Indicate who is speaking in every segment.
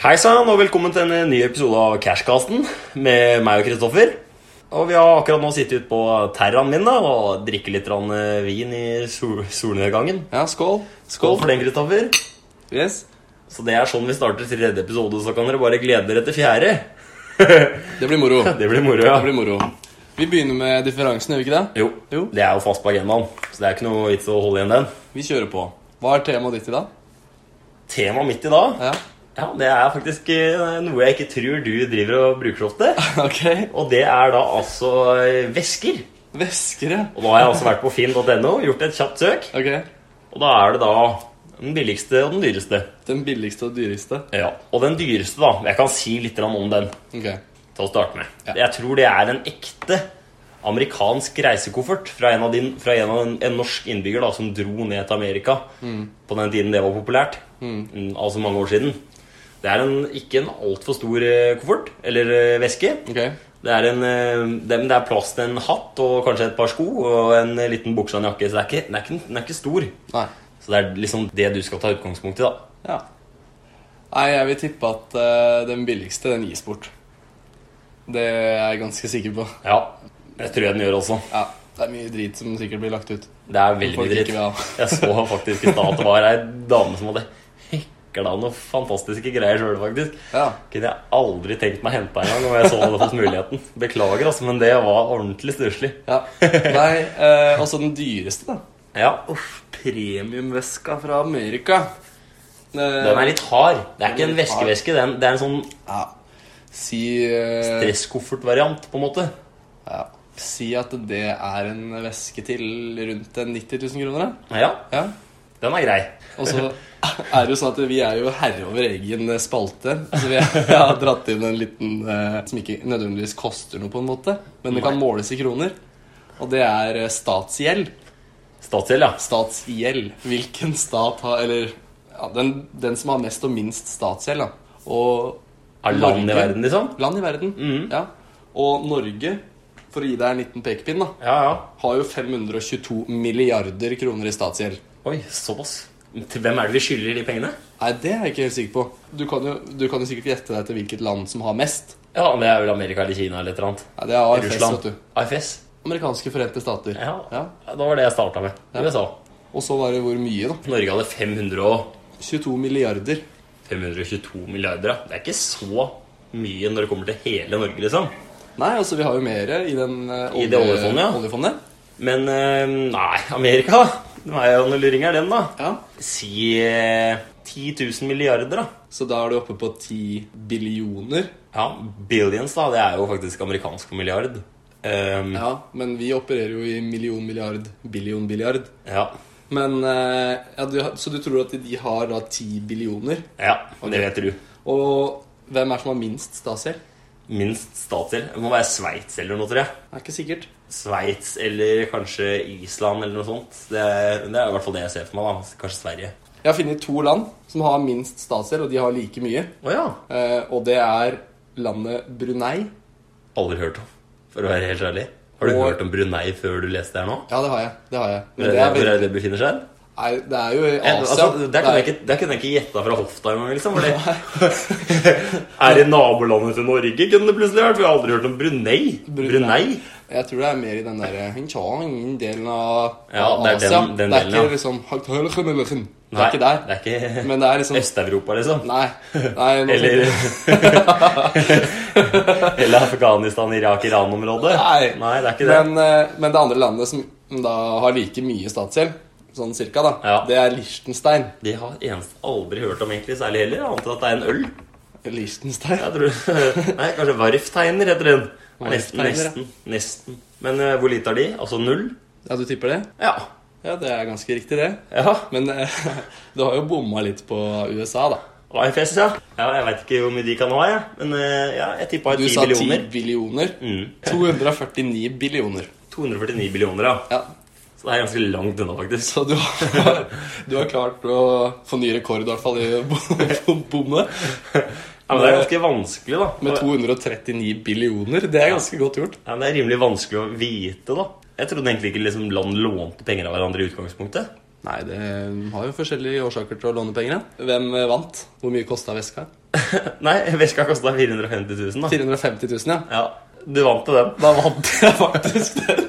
Speaker 1: Hei sann, og velkommen til en eh, ny episode av Cashcasten med meg og Kristoffer. Og vi har akkurat nå sittet ute på terraen min da, og drikker litt grann, eh, vin i sol solnedgangen.
Speaker 2: Ja, skål.
Speaker 1: Skål for den, Kristoffer.
Speaker 2: Yes.
Speaker 1: Så det er sånn vi starter tredje episode, så kan dere bare glede dere til fjerde.
Speaker 2: Det blir moro. Det
Speaker 1: Det blir moro, ja.
Speaker 2: blir moro. Vi begynner med differansen, gjør vi ikke det?
Speaker 1: Jo,
Speaker 2: Jo.
Speaker 1: det er jo fast på agendaen, så det er ikke noe vits å holde igjen den.
Speaker 2: Vi kjører på. Hva er temaet ditt i dag?
Speaker 1: Temaet mitt i dag,
Speaker 2: Ja.
Speaker 1: ja, det er faktisk eh, noe jeg ikke tror du driver og bruker så ofte.
Speaker 2: Ok.
Speaker 1: Og det er da altså eh, væsker.
Speaker 2: Væsker, ja.
Speaker 1: Og da har jeg altså vært på finn.no, gjort et kjapt søk.
Speaker 2: Ok.
Speaker 1: Og da er det da den billigste og den dyreste.
Speaker 2: Den billigste og dyreste.
Speaker 1: Ja. Og den dyreste, da. Jeg kan si litt grann om den
Speaker 2: Ok.
Speaker 1: til å starte med.
Speaker 2: Ja.
Speaker 1: Jeg tror det er en ekte amerikansk reisekoffert fra en, av din, fra en, av en, en norsk innbygger da, som dro ned til Amerika på den tiden det var populært. Mm, Altså mange år siden. Det er en, ikke en altfor stor eh, koffert eller eh, veske.
Speaker 2: Ok.
Speaker 1: Det er, en, eh, det, men det er plass til en hatt og kanskje et par sko og en eh, liten bukse og en jakke. Så det er ikke, den, er ikke, den er ikke stor.
Speaker 2: Nei.
Speaker 1: Så det er liksom det du skal ta utgangspunkt i, da.
Speaker 2: Ja. Nei, jeg vil tippe at eh, den billigste, den gis bort. Det er jeg ganske sikker på.
Speaker 1: Ja, det tror jeg den gjør også.
Speaker 2: Ja. Det er mye drit som sikkert blir lagt ut.
Speaker 1: Det er veldig
Speaker 2: Folk ikke
Speaker 1: dritt.
Speaker 2: vil ha.
Speaker 1: Jeg så faktisk i stad at det var ei dame som hadde hekla noen fantastiske greier sjøl, faktisk.
Speaker 2: Ja.
Speaker 1: Kunne jeg aldri tenkt meg henta engang om jeg så hadde fått muligheten. Beklager, altså, men det var ordentlig stusslig.
Speaker 2: Ja. Nei, eh, også den dyreste, da.
Speaker 1: Ja,
Speaker 2: Uff, premiumveska fra Amerika. Eh,
Speaker 1: den er litt hard. Det er ikke en
Speaker 2: Den er litt hard.
Speaker 1: veskeveske, det er en, det er en sånn
Speaker 2: ja. Si eh,
Speaker 1: dresskoffertvariant, på en måte.
Speaker 2: ja. Si at det er en veske til rundt en 90 000 kroner, da.
Speaker 1: Ja,
Speaker 2: Ja.
Speaker 1: den er grei.
Speaker 2: Og så er det jo sånn at vi er jo herre over egen eh, spalte. Så vi har, jeg har dratt inn en liten eh, som ikke nødvendigvis koster noe, på en måte. Men det kan måles i kroner. Og det er eh, statsgjeld.
Speaker 1: Statsgjeld, ja.
Speaker 2: statsgjeld. Hvilken stat har Eller ja, den, den som har mest og minst statsgjeld, da. Og
Speaker 1: Er land i
Speaker 2: Norge-
Speaker 1: verden, liksom?
Speaker 2: Land i verden, ja. Og Norge, for å gi deg en liten pekepinn, da,
Speaker 1: Ja, ja.
Speaker 2: har jo 522 milliarder kroner i statsgjeld.
Speaker 1: Oi, såpass. Til hvem er det vi skylder de pengene?
Speaker 2: Nei, det er jeg ikke helt sikker på. Du kan jo, du kan jo sikkert gjette deg til hvilket land som har mest.
Speaker 1: Ja, det er vel Amerika eller Kina eller et eller annet.
Speaker 2: Nei, det er AFS,
Speaker 1: Russland.
Speaker 2: vet du.
Speaker 1: AFS.
Speaker 2: Amerikanske Forente Stater.
Speaker 1: Ja, da var det jeg starta med. USA.
Speaker 2: Og så var det hvor mye, da?
Speaker 1: Norge hadde 500 og
Speaker 2: 22 milliarder.
Speaker 1: 522 milliarder. ja. Det er ikke så mye når det kommer til hele Norge, liksom.
Speaker 2: Nei, altså, vi har jo mer i den eh,
Speaker 1: I det
Speaker 2: olje-
Speaker 1: oljefondet, ja.
Speaker 2: oljefondet.
Speaker 1: Men eh, nei, Amerika De er jo noen luringer, den, da.
Speaker 2: Ja.
Speaker 1: Si eh, 10 000 milliarder, da.
Speaker 2: Så da er du oppe på 10 billioner.
Speaker 1: Ja, billions, da. Det er jo faktisk amerikansk for milliard. Ehm,
Speaker 2: Ja, men vi opererer jo i million, milliard, billion, billiard.
Speaker 1: ja.
Speaker 2: Men, eh, ja, du, Så du tror at de har da 10 billioner?
Speaker 1: ja. Det vet du.
Speaker 2: Og hvem er det som har minst statsgjeld?
Speaker 1: Minst statsgjeld. Det må være Sveits eller noe, tror jeg.
Speaker 2: Det er ikke sikkert.
Speaker 1: Sveits eller kanskje Island eller noe sånt. Det er, det er i hvert fall det jeg ser for meg. da Kanskje Sverige.
Speaker 2: Jeg har funnet to land som har minst statsgjeld, og de har like mye.
Speaker 1: Å ja.
Speaker 2: Eh, og det er landet Brunei.
Speaker 1: Aldri hørt om, for å være helt ærlig. Har du
Speaker 2: Og-
Speaker 1: hørt om Brunei før du leste her nå? Eh,
Speaker 2: Ja, det har jeg. det har jeg. Men
Speaker 1: Hvor
Speaker 2: det
Speaker 1: er
Speaker 2: er,
Speaker 1: hvor
Speaker 2: veldig,
Speaker 1: er det det befinner seg?
Speaker 2: nei, det er jo i
Speaker 1: Eh,
Speaker 2: Asia.
Speaker 1: Altså, der, kunne jeg
Speaker 2: Det er-
Speaker 1: ikke, der kunne jeg ikke gjetta fra hofta engang. Liksom, for det- er det nabolandet til Norge, kunne det plutselig vært. Vi har aldri hørt om Brunei.
Speaker 2: Brunei.
Speaker 1: Brunei?
Speaker 2: Jeg tror det er mer i den der Hinchang-delen av
Speaker 1: Ja,
Speaker 2: av
Speaker 1: det er den-
Speaker 2: Asia.
Speaker 1: den
Speaker 2: det er
Speaker 1: delen,
Speaker 2: ikke
Speaker 1: ja.
Speaker 2: liksom Hakthølchemølchen. Det
Speaker 1: Nei,
Speaker 2: er ikke der.
Speaker 1: Det er ikke
Speaker 2: Men det er liksom
Speaker 1: Øst-Europa, liksom.
Speaker 2: Nei. nei nå-
Speaker 1: Eller Eller Afghanistan, Irak, Iran-området.
Speaker 2: Nei.
Speaker 1: Nei, det er ikke det.
Speaker 2: men, eh, men det andre landet som da har like mye statsgjeld, sånn cirka, da,
Speaker 1: Ja.
Speaker 2: det er Liechtenstein.
Speaker 1: De har eneste aldri hørt om egentlig særlig heller, annet enn at det er en øl.
Speaker 2: Liechtenstein.
Speaker 1: Jeg tror, nei, kanskje Varftegner heter den. Det er Nesten,
Speaker 2: Varftegner,
Speaker 1: nesten, nesten. Men eh, hvor lite har de? Altså null?
Speaker 2: Ja, du tipper det?
Speaker 1: Ja.
Speaker 2: Ja, det er ganske riktig, det.
Speaker 1: ja.
Speaker 2: Men eh, du har jo bomma litt på USA, da.
Speaker 1: AFS, ja. ja. Jeg veit ikke hvor mye de kan ha, jeg. Men eh, ja, jeg tippa
Speaker 2: Du
Speaker 1: 10
Speaker 2: sa 10
Speaker 1: billioner.
Speaker 2: billioner.
Speaker 1: Mm.
Speaker 2: 249 billioner.
Speaker 1: 249 billioner, ja.
Speaker 2: Ja,
Speaker 1: Så det er ganske langt unna, faktisk.
Speaker 2: Så du har, du har klart å få ny rekord, i hvert fall, i bom- bomme.
Speaker 1: Ja, men det er ganske vanskelig, da.
Speaker 2: Med 239 billioner. Det er ganske godt gjort.
Speaker 1: Ja, men det er rimelig vanskelig å vite, da. Jeg trodde egentlig ikke liksom, land lånte penger av hverandre i utgangspunktet.
Speaker 2: Nei, det har jo forskjellige årsaker til å låne penger. ja. Hvem eh, vant? Hvor mye kosta veska?
Speaker 1: Nei, veska kosta 450 000, da.
Speaker 2: 450 000, ja.
Speaker 1: Ja, du vant til den.
Speaker 2: Da vant jeg faktisk den.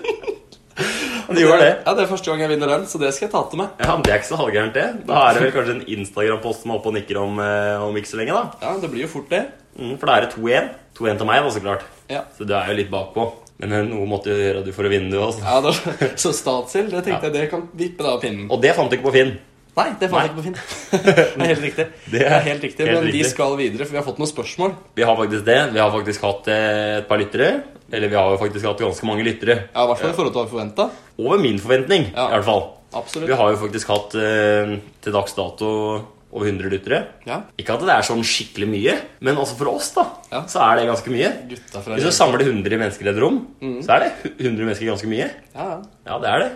Speaker 1: Du gjorde det.
Speaker 2: Ja, Det er første gang jeg vinner den, så det skal jeg ta til meg.
Speaker 1: Ja, men Det er ikke så halvgærent, det. Da er det vel kanskje en Instagram-post som er oppe og nikker om, eh, om ikke så lenge, da.
Speaker 2: Ja, Det blir jo fort, det.
Speaker 1: Mm, for da er det 2-1. 2-1 til meg, da, så klart.
Speaker 2: Ja,
Speaker 1: Så du er jo litt bakpå. Men eh, noe måtte jo gjøre du for å vinne, du også.
Speaker 2: ja da, Så Statsel, det tenkte jeg det kan vippe deg av pinnen.
Speaker 1: Og det fant du ikke på Finn.
Speaker 2: Nei, det fant jeg ikke på Finn. Det er helt riktig.
Speaker 1: Det er
Speaker 2: Det er helt riktig,
Speaker 1: helt
Speaker 2: Men de
Speaker 1: riktig.
Speaker 2: skal videre, for vi har fått noen spørsmål.
Speaker 1: Vi har faktisk det. Vi har faktisk hatt eh, et par lyttere. Eller vi har jo faktisk hatt ganske mange lyttere.
Speaker 2: Ja, I hvert fall i forhold til hva vi forventa.
Speaker 1: Over min forventning,
Speaker 2: Ja.
Speaker 1: i hvert fall. Vi
Speaker 2: Absolutt.
Speaker 1: har jo faktisk hatt eh, til dags dato over 100 lyttere.
Speaker 2: Ja,
Speaker 1: Ikke at det er sånn skikkelig mye, men altså for oss, da,
Speaker 2: Ja.
Speaker 1: så er det ganske mye.
Speaker 2: gutta fra
Speaker 1: Hvis du samler 100 mennesker i et rom, så er det 100 mennesker ganske mye.
Speaker 2: Ja, ja.
Speaker 1: Mm. Ja, det er det.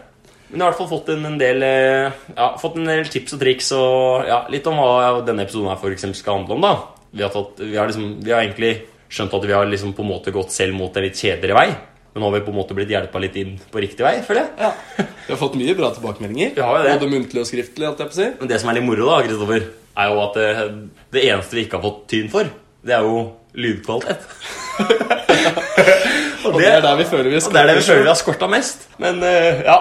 Speaker 1: Men jeg har i hvert fall fått en, en del eh, Ja, fått en del tips og triks og ja, litt om hva denne episoden her for eksempel skal handle om. da Vi har, tatt, vi har, liksom, vi har egentlig skjønt at vi har liksom på en måte gått selv mot en litt kjedeligere vei. Men nå har vi på en måte blitt hjelpa litt inn på riktig vei, føler jeg.
Speaker 2: Ja. Vi har fått mye bra tilbakemeldinger.
Speaker 1: Vi har jo det.
Speaker 2: Både muntlig og skriftlig. alt jeg på å si
Speaker 1: Men det som er litt moro, da, Kristoffer, er jo at det, det eneste vi ikke har fått tyn for, det er jo lydkvalitet. og,
Speaker 2: Og det er der vi føler vi
Speaker 1: og det er det vi føler vi har skorta mest. Men eh, ja,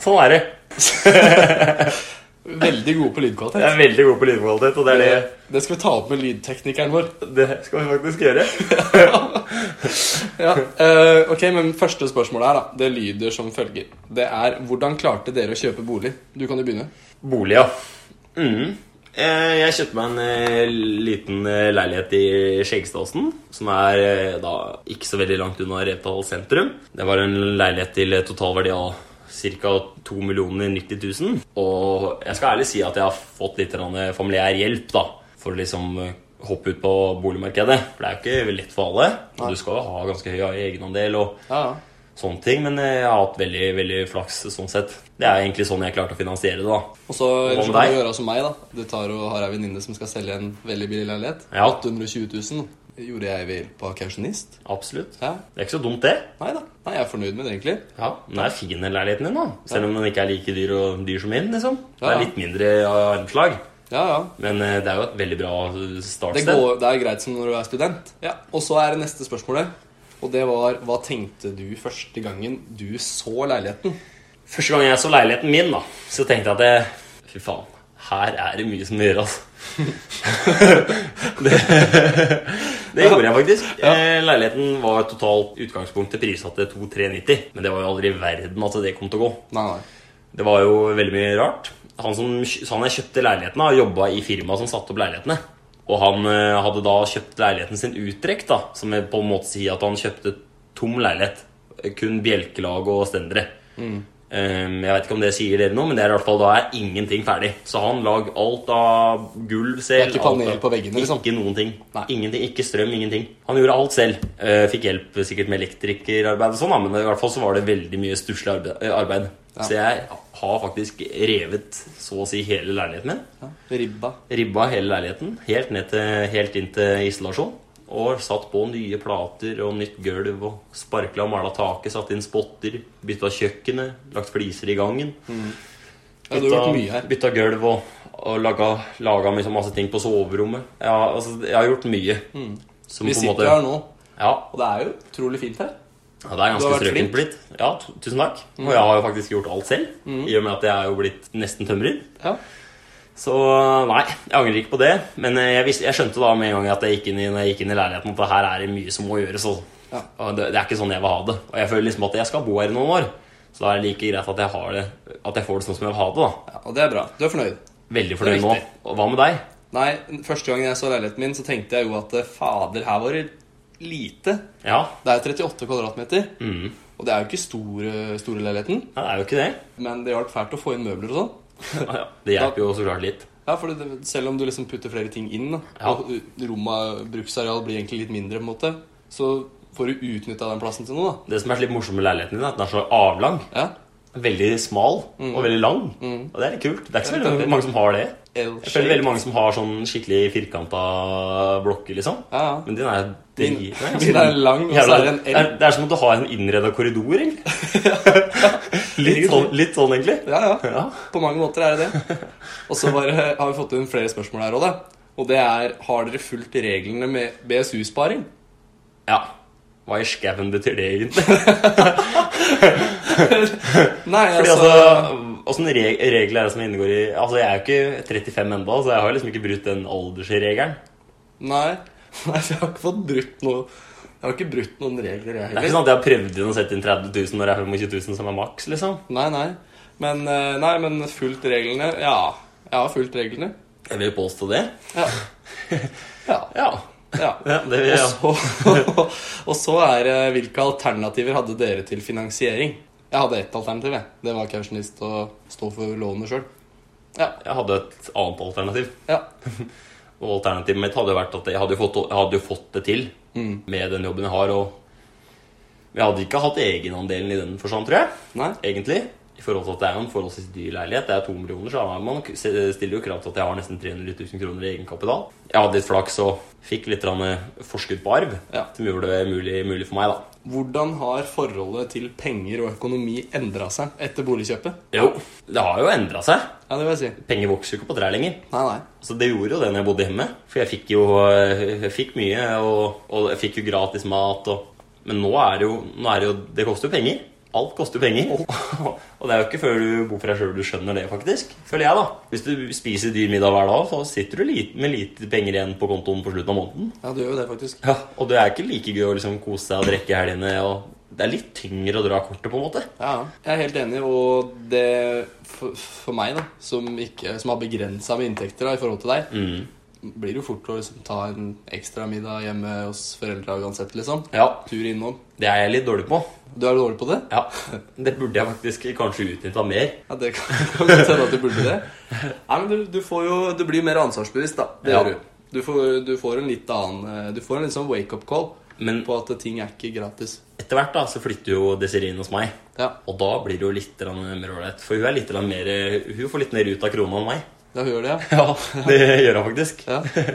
Speaker 1: sånn er det.
Speaker 2: Veldig gode på
Speaker 1: Jeg
Speaker 2: lydkvalitet.
Speaker 1: er veldig god på lydkvalitet, og det er det
Speaker 2: Det skal vi ta opp med lydteknikeren vår.
Speaker 1: Det skal vi faktisk gjøre.
Speaker 2: Ja, eh, ok, men Første spørsmål her da, det lyder som følger. Det er hvordan klarte dere å kjøpe bolig? Du kan jo begynne.
Speaker 1: Bolig, ja. Mm. Eh, Jeg kjøpte meg en eh, liten eh, leilighet i Skjeggestadsen, som er eh, da ikke så veldig langt unna Revdal sentrum. Det var en leilighet til eh, totalverdi av ca. 2 090 000. Og jeg skal ærlig si at jeg har fått litt grann, eh, familiær hjelp da, for å liksom eh, hoppe ut på boligmarkedet. For det er jo ikke lett for alle.
Speaker 2: Nei.
Speaker 1: Og du skal jo ha ganske høy egenandel og
Speaker 2: Ja, ja.
Speaker 1: sånne ting, men eh, jeg har hatt veldig, veldig flaks sånn sett. Det er egentlig sånn jeg klarte å finansiere det, da.
Speaker 2: Og så
Speaker 1: med
Speaker 2: ellers så kan
Speaker 1: deg?
Speaker 2: du gjøre som meg. da Du tar og har ei venninne som skal selge en veldig billig leilighet.
Speaker 1: Ja.
Speaker 2: 820 000 gjorde jeg ved hjelp av kausjonist.
Speaker 1: Absolutt.
Speaker 2: Ja.
Speaker 1: Det er ikke så dumt, det.
Speaker 2: Nei da. Nei, jeg er fornøyd med det, egentlig.
Speaker 1: Ja, Den er fin, den leiligheten din, da. Selv om den ikke er like dyr, og dyr som min. liksom Det
Speaker 2: Ja, ja.
Speaker 1: er litt mindre armslag,
Speaker 2: Ja, ja.
Speaker 1: men eh, det er jo et veldig bra eh,
Speaker 2: Det,
Speaker 1: startsted.
Speaker 2: går, det er greit som når du er student. Ja. Og så er det neste spørsmålet. Og det var hva tenkte du første gangen du så leiligheten?
Speaker 1: Første gang jeg så leiligheten min, da så tenkte jeg at jeg, Fy faen, her er det mye som gjør, altså. det, det gjorde jeg faktisk. Eh, Leiligheten var totalt utgangspunktet prissatt til 2390. Men det var jo aldri i verden at det kom til å gå.
Speaker 2: Nei, nei.
Speaker 1: Det var jo veldig mye rart. Han som han jeg kjøpte leiligheten av, jobba i firmaet som satte opp leilighetene. Og han eh, hadde da kjøpt leiligheten sin uttrekt, da, som jeg på en måte sier at han kjøpte tom leilighet. eh, Kun bjelkelag og stendere.
Speaker 2: Mm.
Speaker 1: Eh, jeg vet ikke om det sier dere noe, men det er i hvert fall da er ingenting ferdig. Så han lag alt av gulv selv.
Speaker 2: Det er ikke panel
Speaker 1: alt av-
Speaker 2: på veggene, liksom?
Speaker 1: Ikke noen ting.
Speaker 2: Nei.
Speaker 1: Ingenting, ikke strøm, ingenting. Han gjorde alt selv. Eh, fikk hjelp sikkert med elektrikerarbeid og sånn, da, men i hvert fall så var det veldig mye stusslig arbeid. eh, arbeid.
Speaker 2: Ja.
Speaker 1: Så jeg har faktisk revet så å si hele leiligheten min.
Speaker 2: Ja. Ribba.
Speaker 1: Ribba hele leiligheten, helt, ned til, helt inn til isolasjon. Og satt på nye plater og nytt gulv og sparkla og mala taket. Satt inn spotter, bytta kjøkkenet, lagt fliser i gangen.
Speaker 2: Ja, du har gjort mye her.
Speaker 1: bytta gulv og, og laga, laga mye- masse ting på soverommet. Ja, altså, jeg har gjort mye. Som på
Speaker 2: Mm. Vi
Speaker 1: en
Speaker 2: sitter
Speaker 1: måte
Speaker 2: her nå,
Speaker 1: Ja,
Speaker 2: og det er jo utrolig fint her.
Speaker 1: Ja, det er
Speaker 2: Du har
Speaker 1: ganske
Speaker 2: vært flink. Mm.
Speaker 1: strøkent blitt. Ja, tu- tusen takk. Og jeg har jo faktisk gjort alt selv, i og med at jeg er jo blitt nesten tømrer.
Speaker 2: Ja.
Speaker 1: Så nei, jeg angrer ikke på det. Men eh, jeg, visste, jeg skjønte da med en gang at jeg gikk inn i, når jeg gikk inn i leiligheten, at det her er det mye som må gjøres. Altså.
Speaker 2: Ja.
Speaker 1: Og Det, det er ikke sånn jeg vil ha det. Og jeg føler liksom at jeg skal bo her i noen år. Så da er det like greit at jeg, har det, at jeg får det sånn som jeg vil ha det. da
Speaker 2: ja, Og det er bra. Du er fornøyd.
Speaker 1: Veldig
Speaker 2: Det
Speaker 1: fornøyd
Speaker 2: er
Speaker 1: nå.
Speaker 2: viktig.
Speaker 1: Og hva med deg?
Speaker 2: Nei, første gangen jeg så leiligheten min, så tenkte jeg jo at eh, fader, her var det lite.
Speaker 1: Ja,
Speaker 2: Det er 38 kvadratmeter, og det er jo ikke store, store leiligheten.
Speaker 1: nei, Mm. det er jo ikke det.
Speaker 2: Men det hjalp fælt å få inn møbler og sånn.
Speaker 1: Ja, Det hjelper jo så klart litt.
Speaker 2: Ja, for det, Selv om du liksom putter flere ting inn, da,
Speaker 1: Ja.
Speaker 2: og uh, rommet, bruksareal blir egentlig litt mindre, på en måte, så får du utnytta den plassen til noe.
Speaker 1: Det som er litt morsomt med leiligheten din, er at den er så avlang.
Speaker 2: da. Ja.
Speaker 1: Veldig smal
Speaker 2: Mm.
Speaker 1: og veldig lang. Og det er litt kult. Det er ikke så veldig mange som har det. Jeg føler veldig mange som har sånn skikkelig firkanta blokker, liksom.
Speaker 2: Ja, ja.
Speaker 1: Men din er
Speaker 2: Min-
Speaker 1: drit-
Speaker 2: min er lang, og så
Speaker 1: Jævla-
Speaker 2: er det en L.
Speaker 1: Det er, det er som om du har en innreda korridor, egentlig. litt, sånn, litt sånn, egentlig.
Speaker 2: Ja, ja.
Speaker 1: Ja.
Speaker 2: På mange måter er det det. Og så bare har vi fått inn flere spørsmål her òg, da. Og det er Har dere fulgt reglene med BSU-sparing?
Speaker 1: Ja. Hva i skauen betyr det egentlig?
Speaker 2: Nei,
Speaker 1: Fordi
Speaker 2: altså,
Speaker 1: altså, Åssen reg regler er det som inngår i Altså, Jeg er jo ikke 35 ennå, så jeg har liksom ikke brutt den aldersregelen.
Speaker 2: Nei. Nei, jeg har ikke fått brutt noe Jeg har ikke brutt noen regler, jeg
Speaker 1: Det er ikke
Speaker 2: heller.
Speaker 1: sånn at jeg har prøvd inn å sette inn 30 000 når det er 25 000 som er maks, liksom.
Speaker 2: Nei, nei. Men, eh, nei, men fulgt reglene Ja, jeg har fulgt reglene.
Speaker 1: Jeg vil påstå det.
Speaker 2: Ja. Ja.
Speaker 1: Ja.
Speaker 2: ja.
Speaker 1: ja det vil jeg. ja.
Speaker 2: Og så, og så er eh, Hvilke alternativer hadde dere til finansiering? Jeg hadde ett alternativ. jeg. Det var kausjonist og stå for lånet sjøl. Ja.
Speaker 1: Jeg hadde et annet alternativ.
Speaker 2: ja.
Speaker 1: Og alternativet mitt hadde jo vært at jeg hadde jo fått, jeg hadde jo fått det til
Speaker 2: Mm.
Speaker 1: med den jobben jeg har. Og jeg hadde ikke hatt egenandelen i den forstand, tror jeg.
Speaker 2: Nei?
Speaker 1: Egentlig. I forhold til at Det er jo en forholdsvis dyr leilighet. Det er to millioner, så er man stiller jo krav til at jeg har nesten 300 000 kroner i egenkapital. Jeg hadde litt flaks og fikk litt grann eh, forskudd på arv,
Speaker 2: Ja.
Speaker 1: som gjorde det mulig, mulig for meg, da.
Speaker 2: Hvordan har forholdet til penger og økonomi endra seg etter boligkjøpet?
Speaker 1: Jo, det har jo endra seg.
Speaker 2: Ja, det vil jeg si.
Speaker 1: Penger vokser jo ikke på trær lenger.
Speaker 2: Nei, nei.
Speaker 1: Så det gjorde jo det når jeg bodde hjemme. For jeg fikk jo jeg fikk mye, og, og jeg fikk jo gratis mat. Og, men nå er det jo, nå er det, jo det koster jo penger. Alt koster penger. og det er jo ikke før du bor for deg sjøl du skjønner det, faktisk. Føler jeg, da. Hvis du spiser dyr middag hver dag, så sitter du lite, med lite penger igjen på kontoen på slutten av måneden.
Speaker 2: Ja, du gjør jo det, faktisk.
Speaker 1: Ja, Og det er ikke like gøy å liksom kose seg og drikke i helgene. Og det er litt tyngre å dra kortet, på en måte.
Speaker 2: Ja, ja. Jeg er helt enig, og det for, for meg, da, som, ikke, som har begrensa med inntekter da, i forhold til deg,
Speaker 1: Mm.
Speaker 2: blir det jo fort å liksom, ta en ekstra middag hjemme hos foreldra uansett, liksom.
Speaker 1: Ja,
Speaker 2: Tur innom.
Speaker 1: det er jeg litt dårlig på.
Speaker 2: Du er dårlig på det?
Speaker 1: Ja, Det burde jeg faktisk kanskje utnytta mer.
Speaker 2: Ja, det kan kan godt hende at du burde det. Nei, men du, du får jo Du blir mer ansvarsbevisst, da. Det
Speaker 1: Ja.
Speaker 2: gjør du. Du får, du får en litt annen eh, Du får en litt sånn wake-up call
Speaker 1: Men
Speaker 2: på at ting er ikke gratis.
Speaker 1: Etter hvert da, så flytter jo Desiree inn hos meg,
Speaker 2: Ja,
Speaker 1: og da blir det jo litt grann mer ålreit. For hun, er litt grann mer, hun får litt mer ut av krona enn meg.
Speaker 2: da gjør det, ja.
Speaker 1: Ja, Det gjør hun faktisk.
Speaker 2: Ja.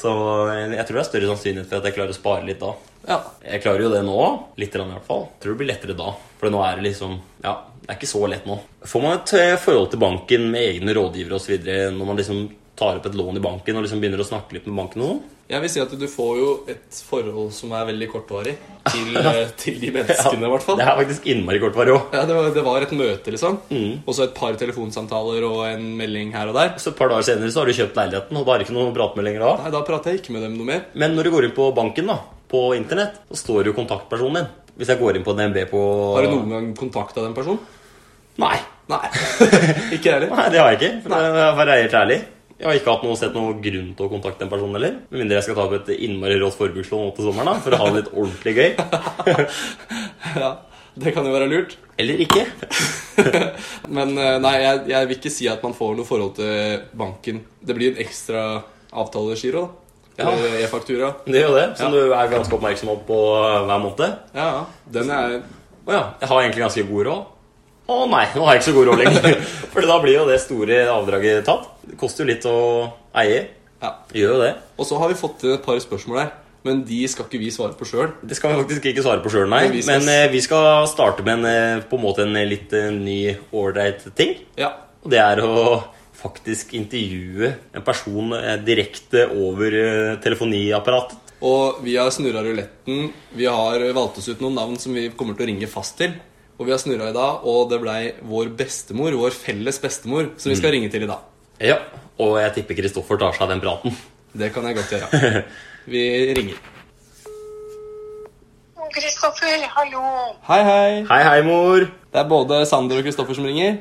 Speaker 1: Så eh, jeg tror det er større sannsynlighet for at jeg klarer å spare litt da.
Speaker 2: ja.
Speaker 1: Jeg klarer jo det nå, litt grann i hvert fall. Jeg tror det blir lettere da. For nå er det liksom Ja, det er ikke så lett nå. Får man et eh, forhold til banken med egne rådgivere osv. når man liksom tar opp et lån i banken og liksom begynner å snakke litt med banken og sånn?
Speaker 2: Jeg vil si at du får jo et forhold som er veldig kortvarig til, eh, til de menneskene, i hvert fall.
Speaker 1: Det er faktisk innmari kortvarig òg.
Speaker 2: Ja, det var, det var et møte, liksom.
Speaker 1: Mm.
Speaker 2: Og så et par telefonsamtaler og en melding her og der.
Speaker 1: Så et par dager senere så har du kjøpt leiligheten, og da er det ikke noe prat med lenger da.
Speaker 2: Nei, Da prater jeg ikke med dem noe mer.
Speaker 1: Men når du går inn på banken da, på internett, så står jo kontaktpersonen din. Hvis jeg går inn på DNB på
Speaker 2: Har du noen gang kontakta den personen?
Speaker 1: Nei.
Speaker 2: Nei. ikke jeg heller.
Speaker 1: Nei, det har jeg ikke. For å være helt ærlig. Jeg har ikke hatt noe, sett noe grunn til å kontakte en person heller. Med mindre jeg skal ta opp et innmari rått forbrukslån nå til sommeren da, for å ha det litt ordentlig gøy.
Speaker 2: Ja, det kan jo være lurt.
Speaker 1: Eller ikke.
Speaker 2: Men eh, nei, jeg, jeg vil ikke si at man får noe forhold til banken. Det blir en ekstra avtalegiro, da.
Speaker 1: Ja.
Speaker 2: Eller E-faktura.
Speaker 1: Det er jo det, som du er ganske oppmerksom på eh, hver måned.
Speaker 2: Ja, ja. Den er
Speaker 1: Å ja, jeg har egentlig ganske god råd. Å nei, nå har jeg ikke så god råd lenger. For da blir jo det store avdraget tatt. Det koster jo litt å eie.
Speaker 2: Ja.
Speaker 1: Gjør jo det.
Speaker 2: Og så har vi fått inn et par spørsmål her, men de skal ikke vi svare på sjøl.
Speaker 1: Det skal vi faktisk ikke svare på sjøl, nei. Men,
Speaker 2: Men vi skal-
Speaker 1: eh, vi skal starte med en, eh, på en måte en eh, litt eh, ny ålreit ting.
Speaker 2: Ja.
Speaker 1: Og det er å faktisk intervjue en person eh, direkte over eh, telefoniapparatet.
Speaker 2: Og vi har snurra ruletten. Vi har valgt oss ut noen navn som vi kommer til å ringe fast til. Og vi har snurra i dag, og det blei vår bestemor, vår felles bestemor, som vi skal ringe til i dag.
Speaker 1: Ja, Og jeg tipper Kristoffer tar seg av den praten.
Speaker 2: Det kan jeg godt gjøre. Vi ringer.
Speaker 3: Kristoffer, hallo.
Speaker 2: Hei, hei.
Speaker 1: Hei, hei, mor.
Speaker 2: Det er både Sander og Kristoffer som ringer.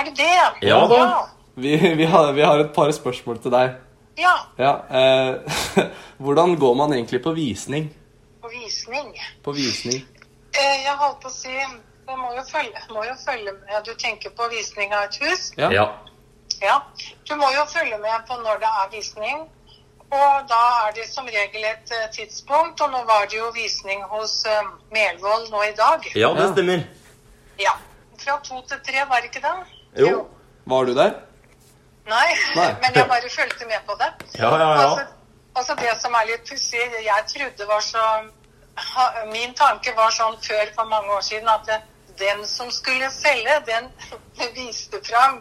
Speaker 3: Er det det?
Speaker 1: Ja da.
Speaker 2: Vi, vi, har, vi har et par spørsmål til deg.
Speaker 3: Ja,
Speaker 2: Ja, eh, Hvordan går man egentlig på visning?
Speaker 3: på visning.
Speaker 2: På visning?
Speaker 3: Eh, Jeg holdt på å si det må jo følge, må jo følge med. Du tenker på visning av et hus?
Speaker 2: Ja.
Speaker 1: Ja.
Speaker 3: Ja. Du må jo følge med på når det er visning. Og da er det som regel et eh, tidspunkt, og nå var det jo visning hos eh, Melvold nå i dag.
Speaker 1: Ja, det
Speaker 2: Ja.
Speaker 1: stemmer.
Speaker 3: Ja. Fra to til tre, var det ikke det?
Speaker 1: Jo.
Speaker 2: Var du der?
Speaker 3: Nei,
Speaker 2: Nei.
Speaker 3: men jeg bare fulgte med på det.
Speaker 1: Ja, ja,
Speaker 3: Altså,
Speaker 1: ja.
Speaker 3: altså det som er litt pussig, jeg trodde var så ha, Min tanke var sånn før for mange år siden at det, den som skulle selge, den viste fram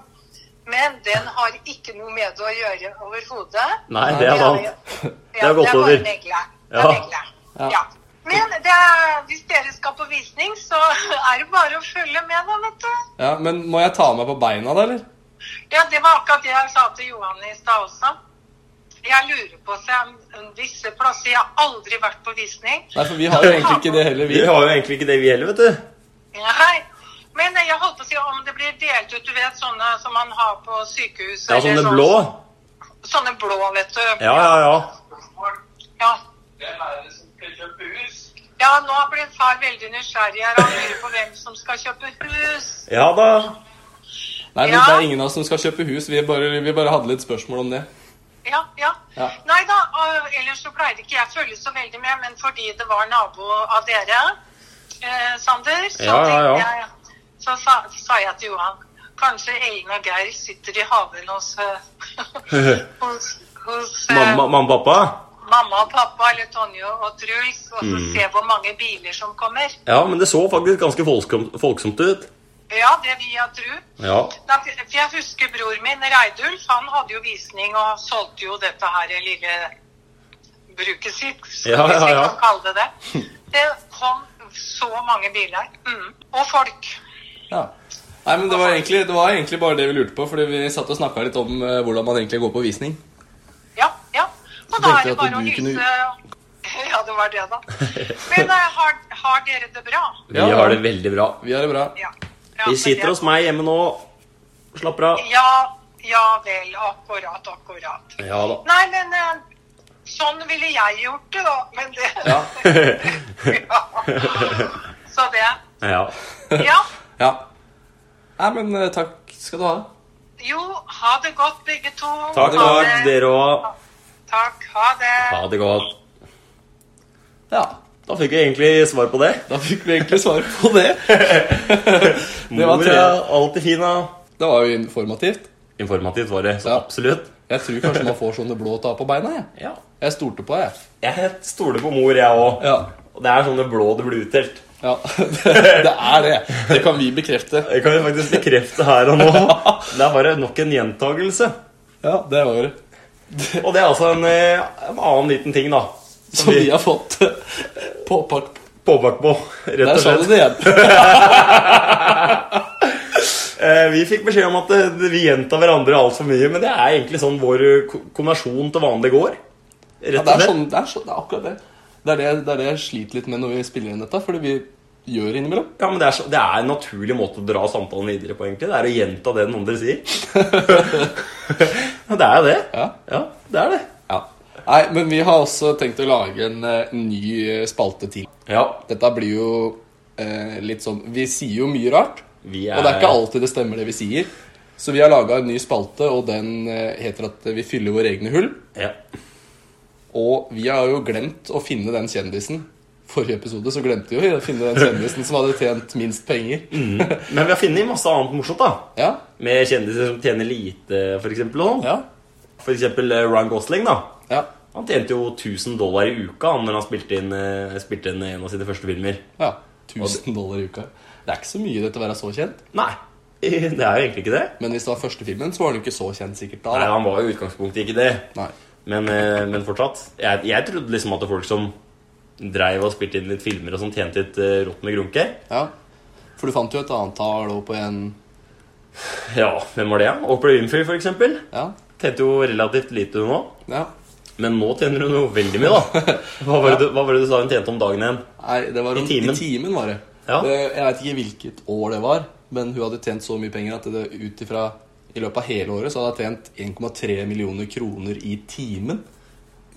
Speaker 3: Men den har ikke noe med det å gjøre overhodet.
Speaker 1: Nei, det er sant. Det har gått
Speaker 3: over.
Speaker 1: over.
Speaker 3: Det er bare megleren. Det
Speaker 1: Ja.
Speaker 3: er megleren. Ja. Men det er, hvis dere skal på visning, så er det bare å følge med, da, vet du.
Speaker 2: Ja, Men må jeg ta meg på beina, da, eller?
Speaker 3: Ja, det var akkurat det jeg sa til Johan i stad også. Jeg lurer på seg om visse plasser Jeg har aldri vært på visning.
Speaker 2: Nei, for vi har jo egentlig ikke det heller,
Speaker 1: Vi
Speaker 2: vi.
Speaker 1: har jo egentlig ikke det, vi heller, vet du.
Speaker 3: Nei. Men jeg holdt på å si om det blir delt ut, du vet, sånne som man har på sykehus.
Speaker 1: Ja,
Speaker 3: eller
Speaker 1: sånne
Speaker 3: sånn-
Speaker 1: blå.
Speaker 3: Sånne blå, vet du.
Speaker 1: Ja, ja, ja.
Speaker 3: Ja.
Speaker 4: Hvem er det som skal kjøpe hus?
Speaker 3: Ja, nå blir far veldig nysgjerrig her. Han lurer på hvem som skal kjøpe hus.
Speaker 1: Ja da.
Speaker 2: Nei, men
Speaker 3: Ja.
Speaker 2: Det er ingen av oss som skal kjøpe hus. Vi bare, vi bare hadde litt spørsmål om det.
Speaker 3: Ja, ja.
Speaker 2: Ja.
Speaker 3: Nei da, og ellers så pleide ikke jeg å følge så veldig med, men fordi det var nabo av dere, eh, Sander, så,
Speaker 1: Ja, ja, ja.
Speaker 3: tenkte Jeg, så sa, sa jeg til Johan Kanskje Ellen og Geir sitter i haven hos, eh, hos, hos eh,
Speaker 1: Mamma, mamma og pappa.
Speaker 3: mamma og pappa, eller Tonje og Truls, og
Speaker 1: Mm.
Speaker 3: så se hvor mange biler som kommer.
Speaker 1: Ja, men det så faktisk ganske folksomt, folksomt ut.
Speaker 3: Ja, det vil jeg tro.
Speaker 1: Ja.
Speaker 3: Da- For jeg husker bror min, Reidulf, han hadde jo visning og solgte jo dette her lille bruket sitt, hvis
Speaker 1: Ja, ja,
Speaker 3: vi
Speaker 1: ja.
Speaker 3: kan kalle det det. Det kom så mange biler. Mm. Og folk.
Speaker 2: Ja. Nei, men det var, egentlig, det var egentlig bare det vi lurte på, fordi vi satt og snakka litt om eh, hvordan man egentlig går på visning.
Speaker 3: Ja, ja.
Speaker 2: Så
Speaker 3: Og da
Speaker 2: tenkte
Speaker 3: er det
Speaker 2: jeg at
Speaker 3: bare å
Speaker 2: du
Speaker 3: hilse.
Speaker 2: kunne-
Speaker 3: Ja, det var det, da. Men eh, har, har dere det bra?
Speaker 1: Vi
Speaker 2: Ja, ja.
Speaker 1: har det veldig bra.
Speaker 2: Vi har det bra.
Speaker 3: Ja. Ja,
Speaker 1: Vi
Speaker 3: men det-
Speaker 1: sitter hos meg hjemme nå. Slapper av.
Speaker 3: Ja, ja vel. Akkurat, akkurat.
Speaker 1: Ja da.
Speaker 3: Nei, men eh, sånn ville jeg gjort det, da. Men
Speaker 2: Ja.
Speaker 3: det Ja. Så det.
Speaker 1: Ja.
Speaker 3: Ja.
Speaker 2: ja. Nei, men eh, takk skal du ha.
Speaker 3: Jo, ha det godt, begge to.
Speaker 1: Takk,
Speaker 3: Ha
Speaker 1: takk,
Speaker 3: det.
Speaker 1: dere òg.
Speaker 3: Takk. Ha det.
Speaker 1: Ha det godt.
Speaker 2: Ja.
Speaker 1: Da fikk jeg egentlig svar på det.
Speaker 2: Da fikk vi egentlig svar på det. det, var
Speaker 1: Mor
Speaker 2: tre.
Speaker 1: er alltid fin, da.
Speaker 2: det var jo informativt.
Speaker 1: Informativt var det. Så
Speaker 2: Ja.
Speaker 1: absolutt.
Speaker 2: Jeg tror kanskje man får sånne blå ta på beina. Jeg,
Speaker 1: Ja.
Speaker 2: jeg stolte på jeg.
Speaker 1: Jeg stoler på mor, jeg òg.
Speaker 2: Ja.
Speaker 1: Og det er sånne blå det blir utdelt.
Speaker 2: ja. det er det. Det kan vi bekrefte.
Speaker 1: Det kan vi faktisk bekrefte her og nå. Det er bare nok en gjentagelse.
Speaker 2: Ja, det var det.
Speaker 1: Og det er altså en, eh, en annen liten ting, da.
Speaker 2: Som vi har fått påpakt.
Speaker 1: påbart på, rett
Speaker 2: Der
Speaker 1: og
Speaker 2: sa du
Speaker 1: slett.
Speaker 2: det igjen.
Speaker 1: Eh, Vi fikk beskjed om at eh, vi gjentar hverandre altfor mye, men det er egentlig sånn vår eh, ko- kombinasjon til vanlig går.
Speaker 2: Ja,
Speaker 1: Rett og
Speaker 2: det, er
Speaker 1: slett.
Speaker 2: sånn, det, er sånn, det er akkurat det. Det er det, det er det jeg sliter litt med når vi spiller inn dette. Fordi vi gjør innimellom.
Speaker 1: Ja, men det er, så, det er en naturlig måte å dra samtalen videre på, egentlig. Det er å gjenta det den andre sier. Ja, det er jo det.
Speaker 2: Ja.
Speaker 1: ja, det er det.
Speaker 2: Ja. Nei, men vi har også tenkt å lage en eh, ny eh, spalte til.
Speaker 1: Ja,
Speaker 2: Dette blir jo eh, litt sånn Vi sier jo mye rart.
Speaker 1: Vi
Speaker 2: Og det er
Speaker 1: er-
Speaker 2: ikke alltid det stemmer, det vi sier. Så vi har laga en ny spalte, og den eh, heter at vi fyller våre egne hull.
Speaker 1: ja.
Speaker 2: Og vi har jo glemt å finne den kjendisen. Forrige episode så glemte vi å finne den kjendisen som hadde tjent minst penger.
Speaker 1: Mm. Men vi har funnet masse annet morsomt, da.
Speaker 2: Ja,
Speaker 1: Med kjendiser som tjener lite, for eksempel. Og sånn.
Speaker 2: ja,
Speaker 1: For eksempel eh, Ryan Gosling, da.
Speaker 2: ja,
Speaker 1: Han tjente jo 1000 dollar i uka han, når han spilte inn, eh, spilte inn en av sine første filmer.
Speaker 2: ja. 1000 dollar i uka. Det er ikke så mye dette å være så kjent.
Speaker 1: Nei, det er jo egentlig ikke det.
Speaker 2: Men hvis det var første filmen, så var den jo ikke så kjent sikkert
Speaker 1: Nei,
Speaker 2: da.
Speaker 1: Han var jo i utgangspunktet ikke det.
Speaker 2: da. Nei.
Speaker 1: Men, eh, men fortsatt. Jeg, jeg trodde liksom at det folk som dreiv og spilte inn litt filmer og sånn, tjente litt eh, rått med grunke.
Speaker 2: Ja. For du fant jo et annet tall og på en
Speaker 1: Ja, hvem var det? ja? Oprah Winfrey, for eksempel.
Speaker 2: Ja.
Speaker 1: Tjente jo relativt lite hun nå.
Speaker 2: ja.
Speaker 1: Men nå tjener hun jo veldig mye, da. Hva var det du, hva var det du sa hun tjente om dagen igjen?
Speaker 2: Nei, det var
Speaker 1: I
Speaker 2: om,
Speaker 1: timen.
Speaker 2: I timen, var det.
Speaker 1: Ja.
Speaker 2: det jeg veit ikke hvilket år det var, men hun hadde tjent så mye penger at det ut ifra i løpet av hele året så hadde hun tjent 1,3 millioner kroner i timen.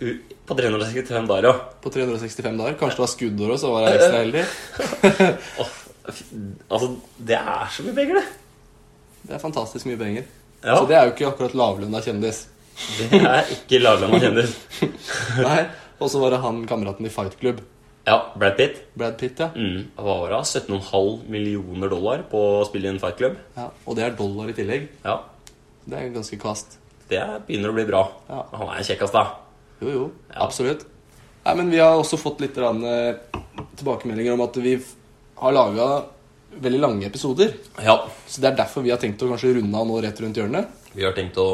Speaker 1: U- På 365 dager, ja.
Speaker 2: på 365 dager. Kanskje det var skuddår også, så var jeg ekstra heldig.
Speaker 1: Åh, f- Altså, det er så mye penger, det.
Speaker 2: Det er fantastisk mye penger.
Speaker 1: Ja.
Speaker 2: Så det er jo ikke akkurat lavlønna kjendis.
Speaker 1: Det er ikke lavlønna kjendis.
Speaker 2: Nei, Og så var det han kameraten i Fight Club,
Speaker 1: Ja, Brad Pitt.
Speaker 2: Brad Pitt, ja.
Speaker 1: Mm. Hva var det? 17,5 millioner dollar på å spille i en fight club?
Speaker 2: ja. Og det er dollar i tillegg.
Speaker 1: Ja,
Speaker 2: Det er ganske kvast.
Speaker 1: det begynner å bli bra.
Speaker 2: Ja.
Speaker 1: Han er en kjekkas, da.
Speaker 2: Jo, jo.
Speaker 1: Ja.
Speaker 2: Absolutt. Nei, men vi har også fått litt grann, eh, tilbakemeldinger om at vi f- har laga veldig lange episoder.
Speaker 1: Ja.
Speaker 2: Så det er derfor vi har tenkt å kanskje runde av nå rett rundt hjørnet.
Speaker 1: Vi har tenkt å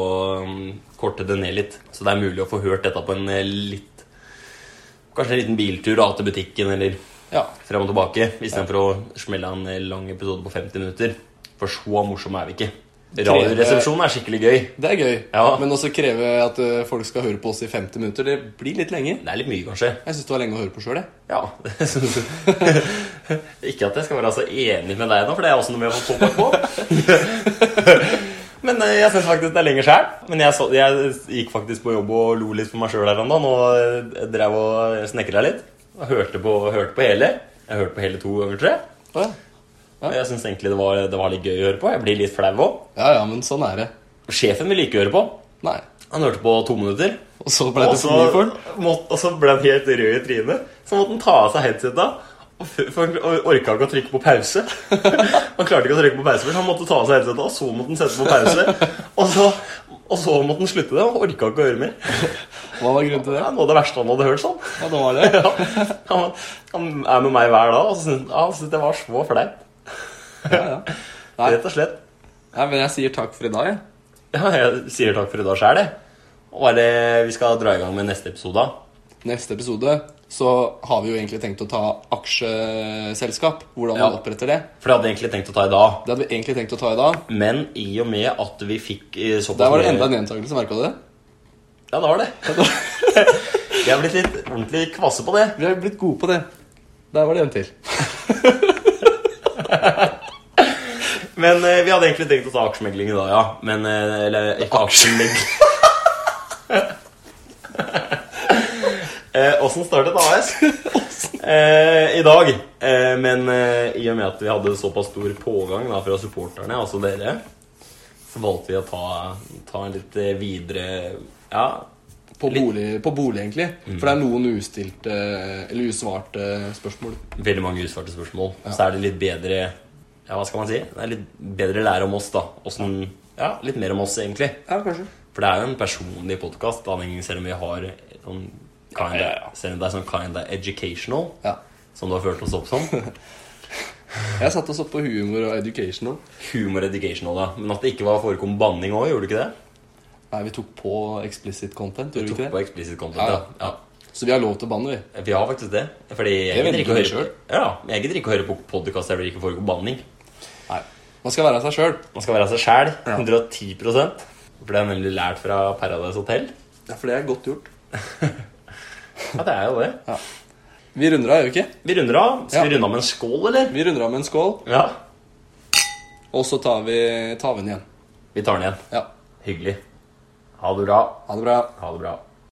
Speaker 1: mm, korte det ned litt, så det er mulig å få hørt dette på en eh, litt Kanskje en liten biltur da, til butikken eller
Speaker 2: Ja.
Speaker 1: frem og tilbake, istedenfor å smelle en eh, lang episode på 50 minutter. For så morsomme er vi ikke. Radioresepsjonen er skikkelig gøy.
Speaker 2: Det er gøy.
Speaker 1: Ja.
Speaker 2: Men også kreve at ø, folk skal høre på oss i 50 minutter, det blir litt lenge.
Speaker 1: Det er litt mye, kanskje.
Speaker 2: Jeg syns det var lenge å høre på sjøl, jeg.
Speaker 1: Ja, det synes jeg. Ikke at jeg skal være så enig med deg nå, for det er også noe vi har fått påpakk på. Men eh, jeg syns faktisk det er lenger sjæl. Men jeg, så, jeg gikk faktisk på jobb og lo litt for meg sjøl her om dagen. Og eh, drev og snekra litt. Og hørte på, hørte på hele. Jeg hørte på hele to ganger, tror jeg.
Speaker 2: Å, ja.
Speaker 1: Og jeg syns egentlig det var, det var litt gøy å høre på. Jeg blir litt flau òg.
Speaker 2: ja ja, men sånn er det.
Speaker 1: Sjefen ville ikke høre på.
Speaker 2: Nei.
Speaker 1: Han hørte på to minutter.
Speaker 2: Og så ble det
Speaker 1: Og så
Speaker 2: for mye for den.
Speaker 1: måtte- Og så ble han helt rød i trynet. Så måtte han ta av seg headsetet. og f- For han or- orka ikke å trykke på pause. Han klarte ikke å trykke på pause først. Han måtte ta av seg headsetet, og så måtte han sette på pause. Og så, og så måtte han slutte det. Han orka ikke å høre mer.
Speaker 2: Hva var grunnen til
Speaker 1: Det
Speaker 2: det?
Speaker 1: er noe av det verste han hadde hørt sånn.
Speaker 2: Ja, det var det.
Speaker 1: Ja. Han, han er med meg hver dag, og så syns ja, han syns det var så flaut.
Speaker 2: Ja, ja. Nei.
Speaker 1: Rett og slett.
Speaker 2: Nei, men jeg sier takk for i dag, jeg.
Speaker 1: Ja, jeg sier takk for i dag sjæl, jeg. Og bare, vi skal dra i gang med neste episode. da.
Speaker 2: Neste episode så har vi jo egentlig tenkt å ta aksjeselskap. Hvordan man
Speaker 1: Ja.
Speaker 2: oppretter det.
Speaker 1: For det hadde jeg egentlig tenkt å ta i dag.
Speaker 2: Det hadde vi egentlig tenkt å ta i dag.
Speaker 1: Men i og med at vi fikk eh, såpass
Speaker 2: Der var det
Speaker 1: mye-
Speaker 2: enda en gjentakelse, merka du det?
Speaker 1: Ja, det var det. Jeg er blitt litt ordentlig kvasse på det.
Speaker 2: Vi har blitt gode på det. Der var det en til.
Speaker 1: Men eh, vi hadde egentlig tenkt å ta aksjemegling i dag, ja. Men eh, Eller ikke aksjemegling. Åssen startet AS? Eh, I dag. Eh, men eh, i og med at vi hadde såpass stor pågang da, fra supporterne, altså dere, så valgte vi å ta, ta en litt eh, videre Ja,
Speaker 2: På bolig, på bolig egentlig. For det er noen ustilte eller usvarte spørsmål.
Speaker 1: veldig mange usvarte spørsmål. Så er det litt bedre Ja, hva skal man si? Det er litt bedre lære om oss, da. Åssen Ja, litt mer om oss, egentlig.
Speaker 2: Ja, kanskje.
Speaker 1: For det er jo en personlig podkast, selv om vi har sånn kinda,
Speaker 2: Ja, ja, ja.
Speaker 1: Selv om det er sånn kinda educational,
Speaker 2: Ja.
Speaker 1: som du har ført oss opp som.
Speaker 2: Jeg satte oss opp på humor og educational.
Speaker 1: Humor educational, da. Men at det ikke var forekom banning òg, gjorde du ikke det?
Speaker 2: Nei, vi tok på explicit content, gjorde vi
Speaker 1: Tok
Speaker 2: ikke
Speaker 1: på
Speaker 2: det?
Speaker 1: explicit
Speaker 2: Ja,
Speaker 1: content,
Speaker 2: ja.
Speaker 1: ja.
Speaker 2: Så vi har lov til å banne, vi.
Speaker 1: ja. Vi har faktisk det. Fordi jeg,
Speaker 2: Det vet
Speaker 1: gidder
Speaker 2: ikke
Speaker 1: ikke å
Speaker 2: vi
Speaker 1: høre Ja, men jeg gidder ikke å høre på podkast der det ikke foregår banning.
Speaker 2: Nei. Man skal være seg sjøl.
Speaker 1: Man skal være seg sjæl. 110 For det har jeg nemlig lært fra Paradise Hotel.
Speaker 2: Ja, for det er godt gjort.
Speaker 1: Ja, det er jo det.
Speaker 2: Vi runder av, gjør vi ikke?
Speaker 1: Vi runder av. Skal
Speaker 2: Ja.
Speaker 1: vi runde av med en skål, eller?
Speaker 2: Vi runder av med en skål,
Speaker 1: Ja.
Speaker 2: og så tar vi, tar vi den igjen.
Speaker 1: Vi tar den igjen.
Speaker 2: Ja.
Speaker 1: Hyggelig. Ha det bra.
Speaker 2: Ha det bra.
Speaker 1: Ha det bra.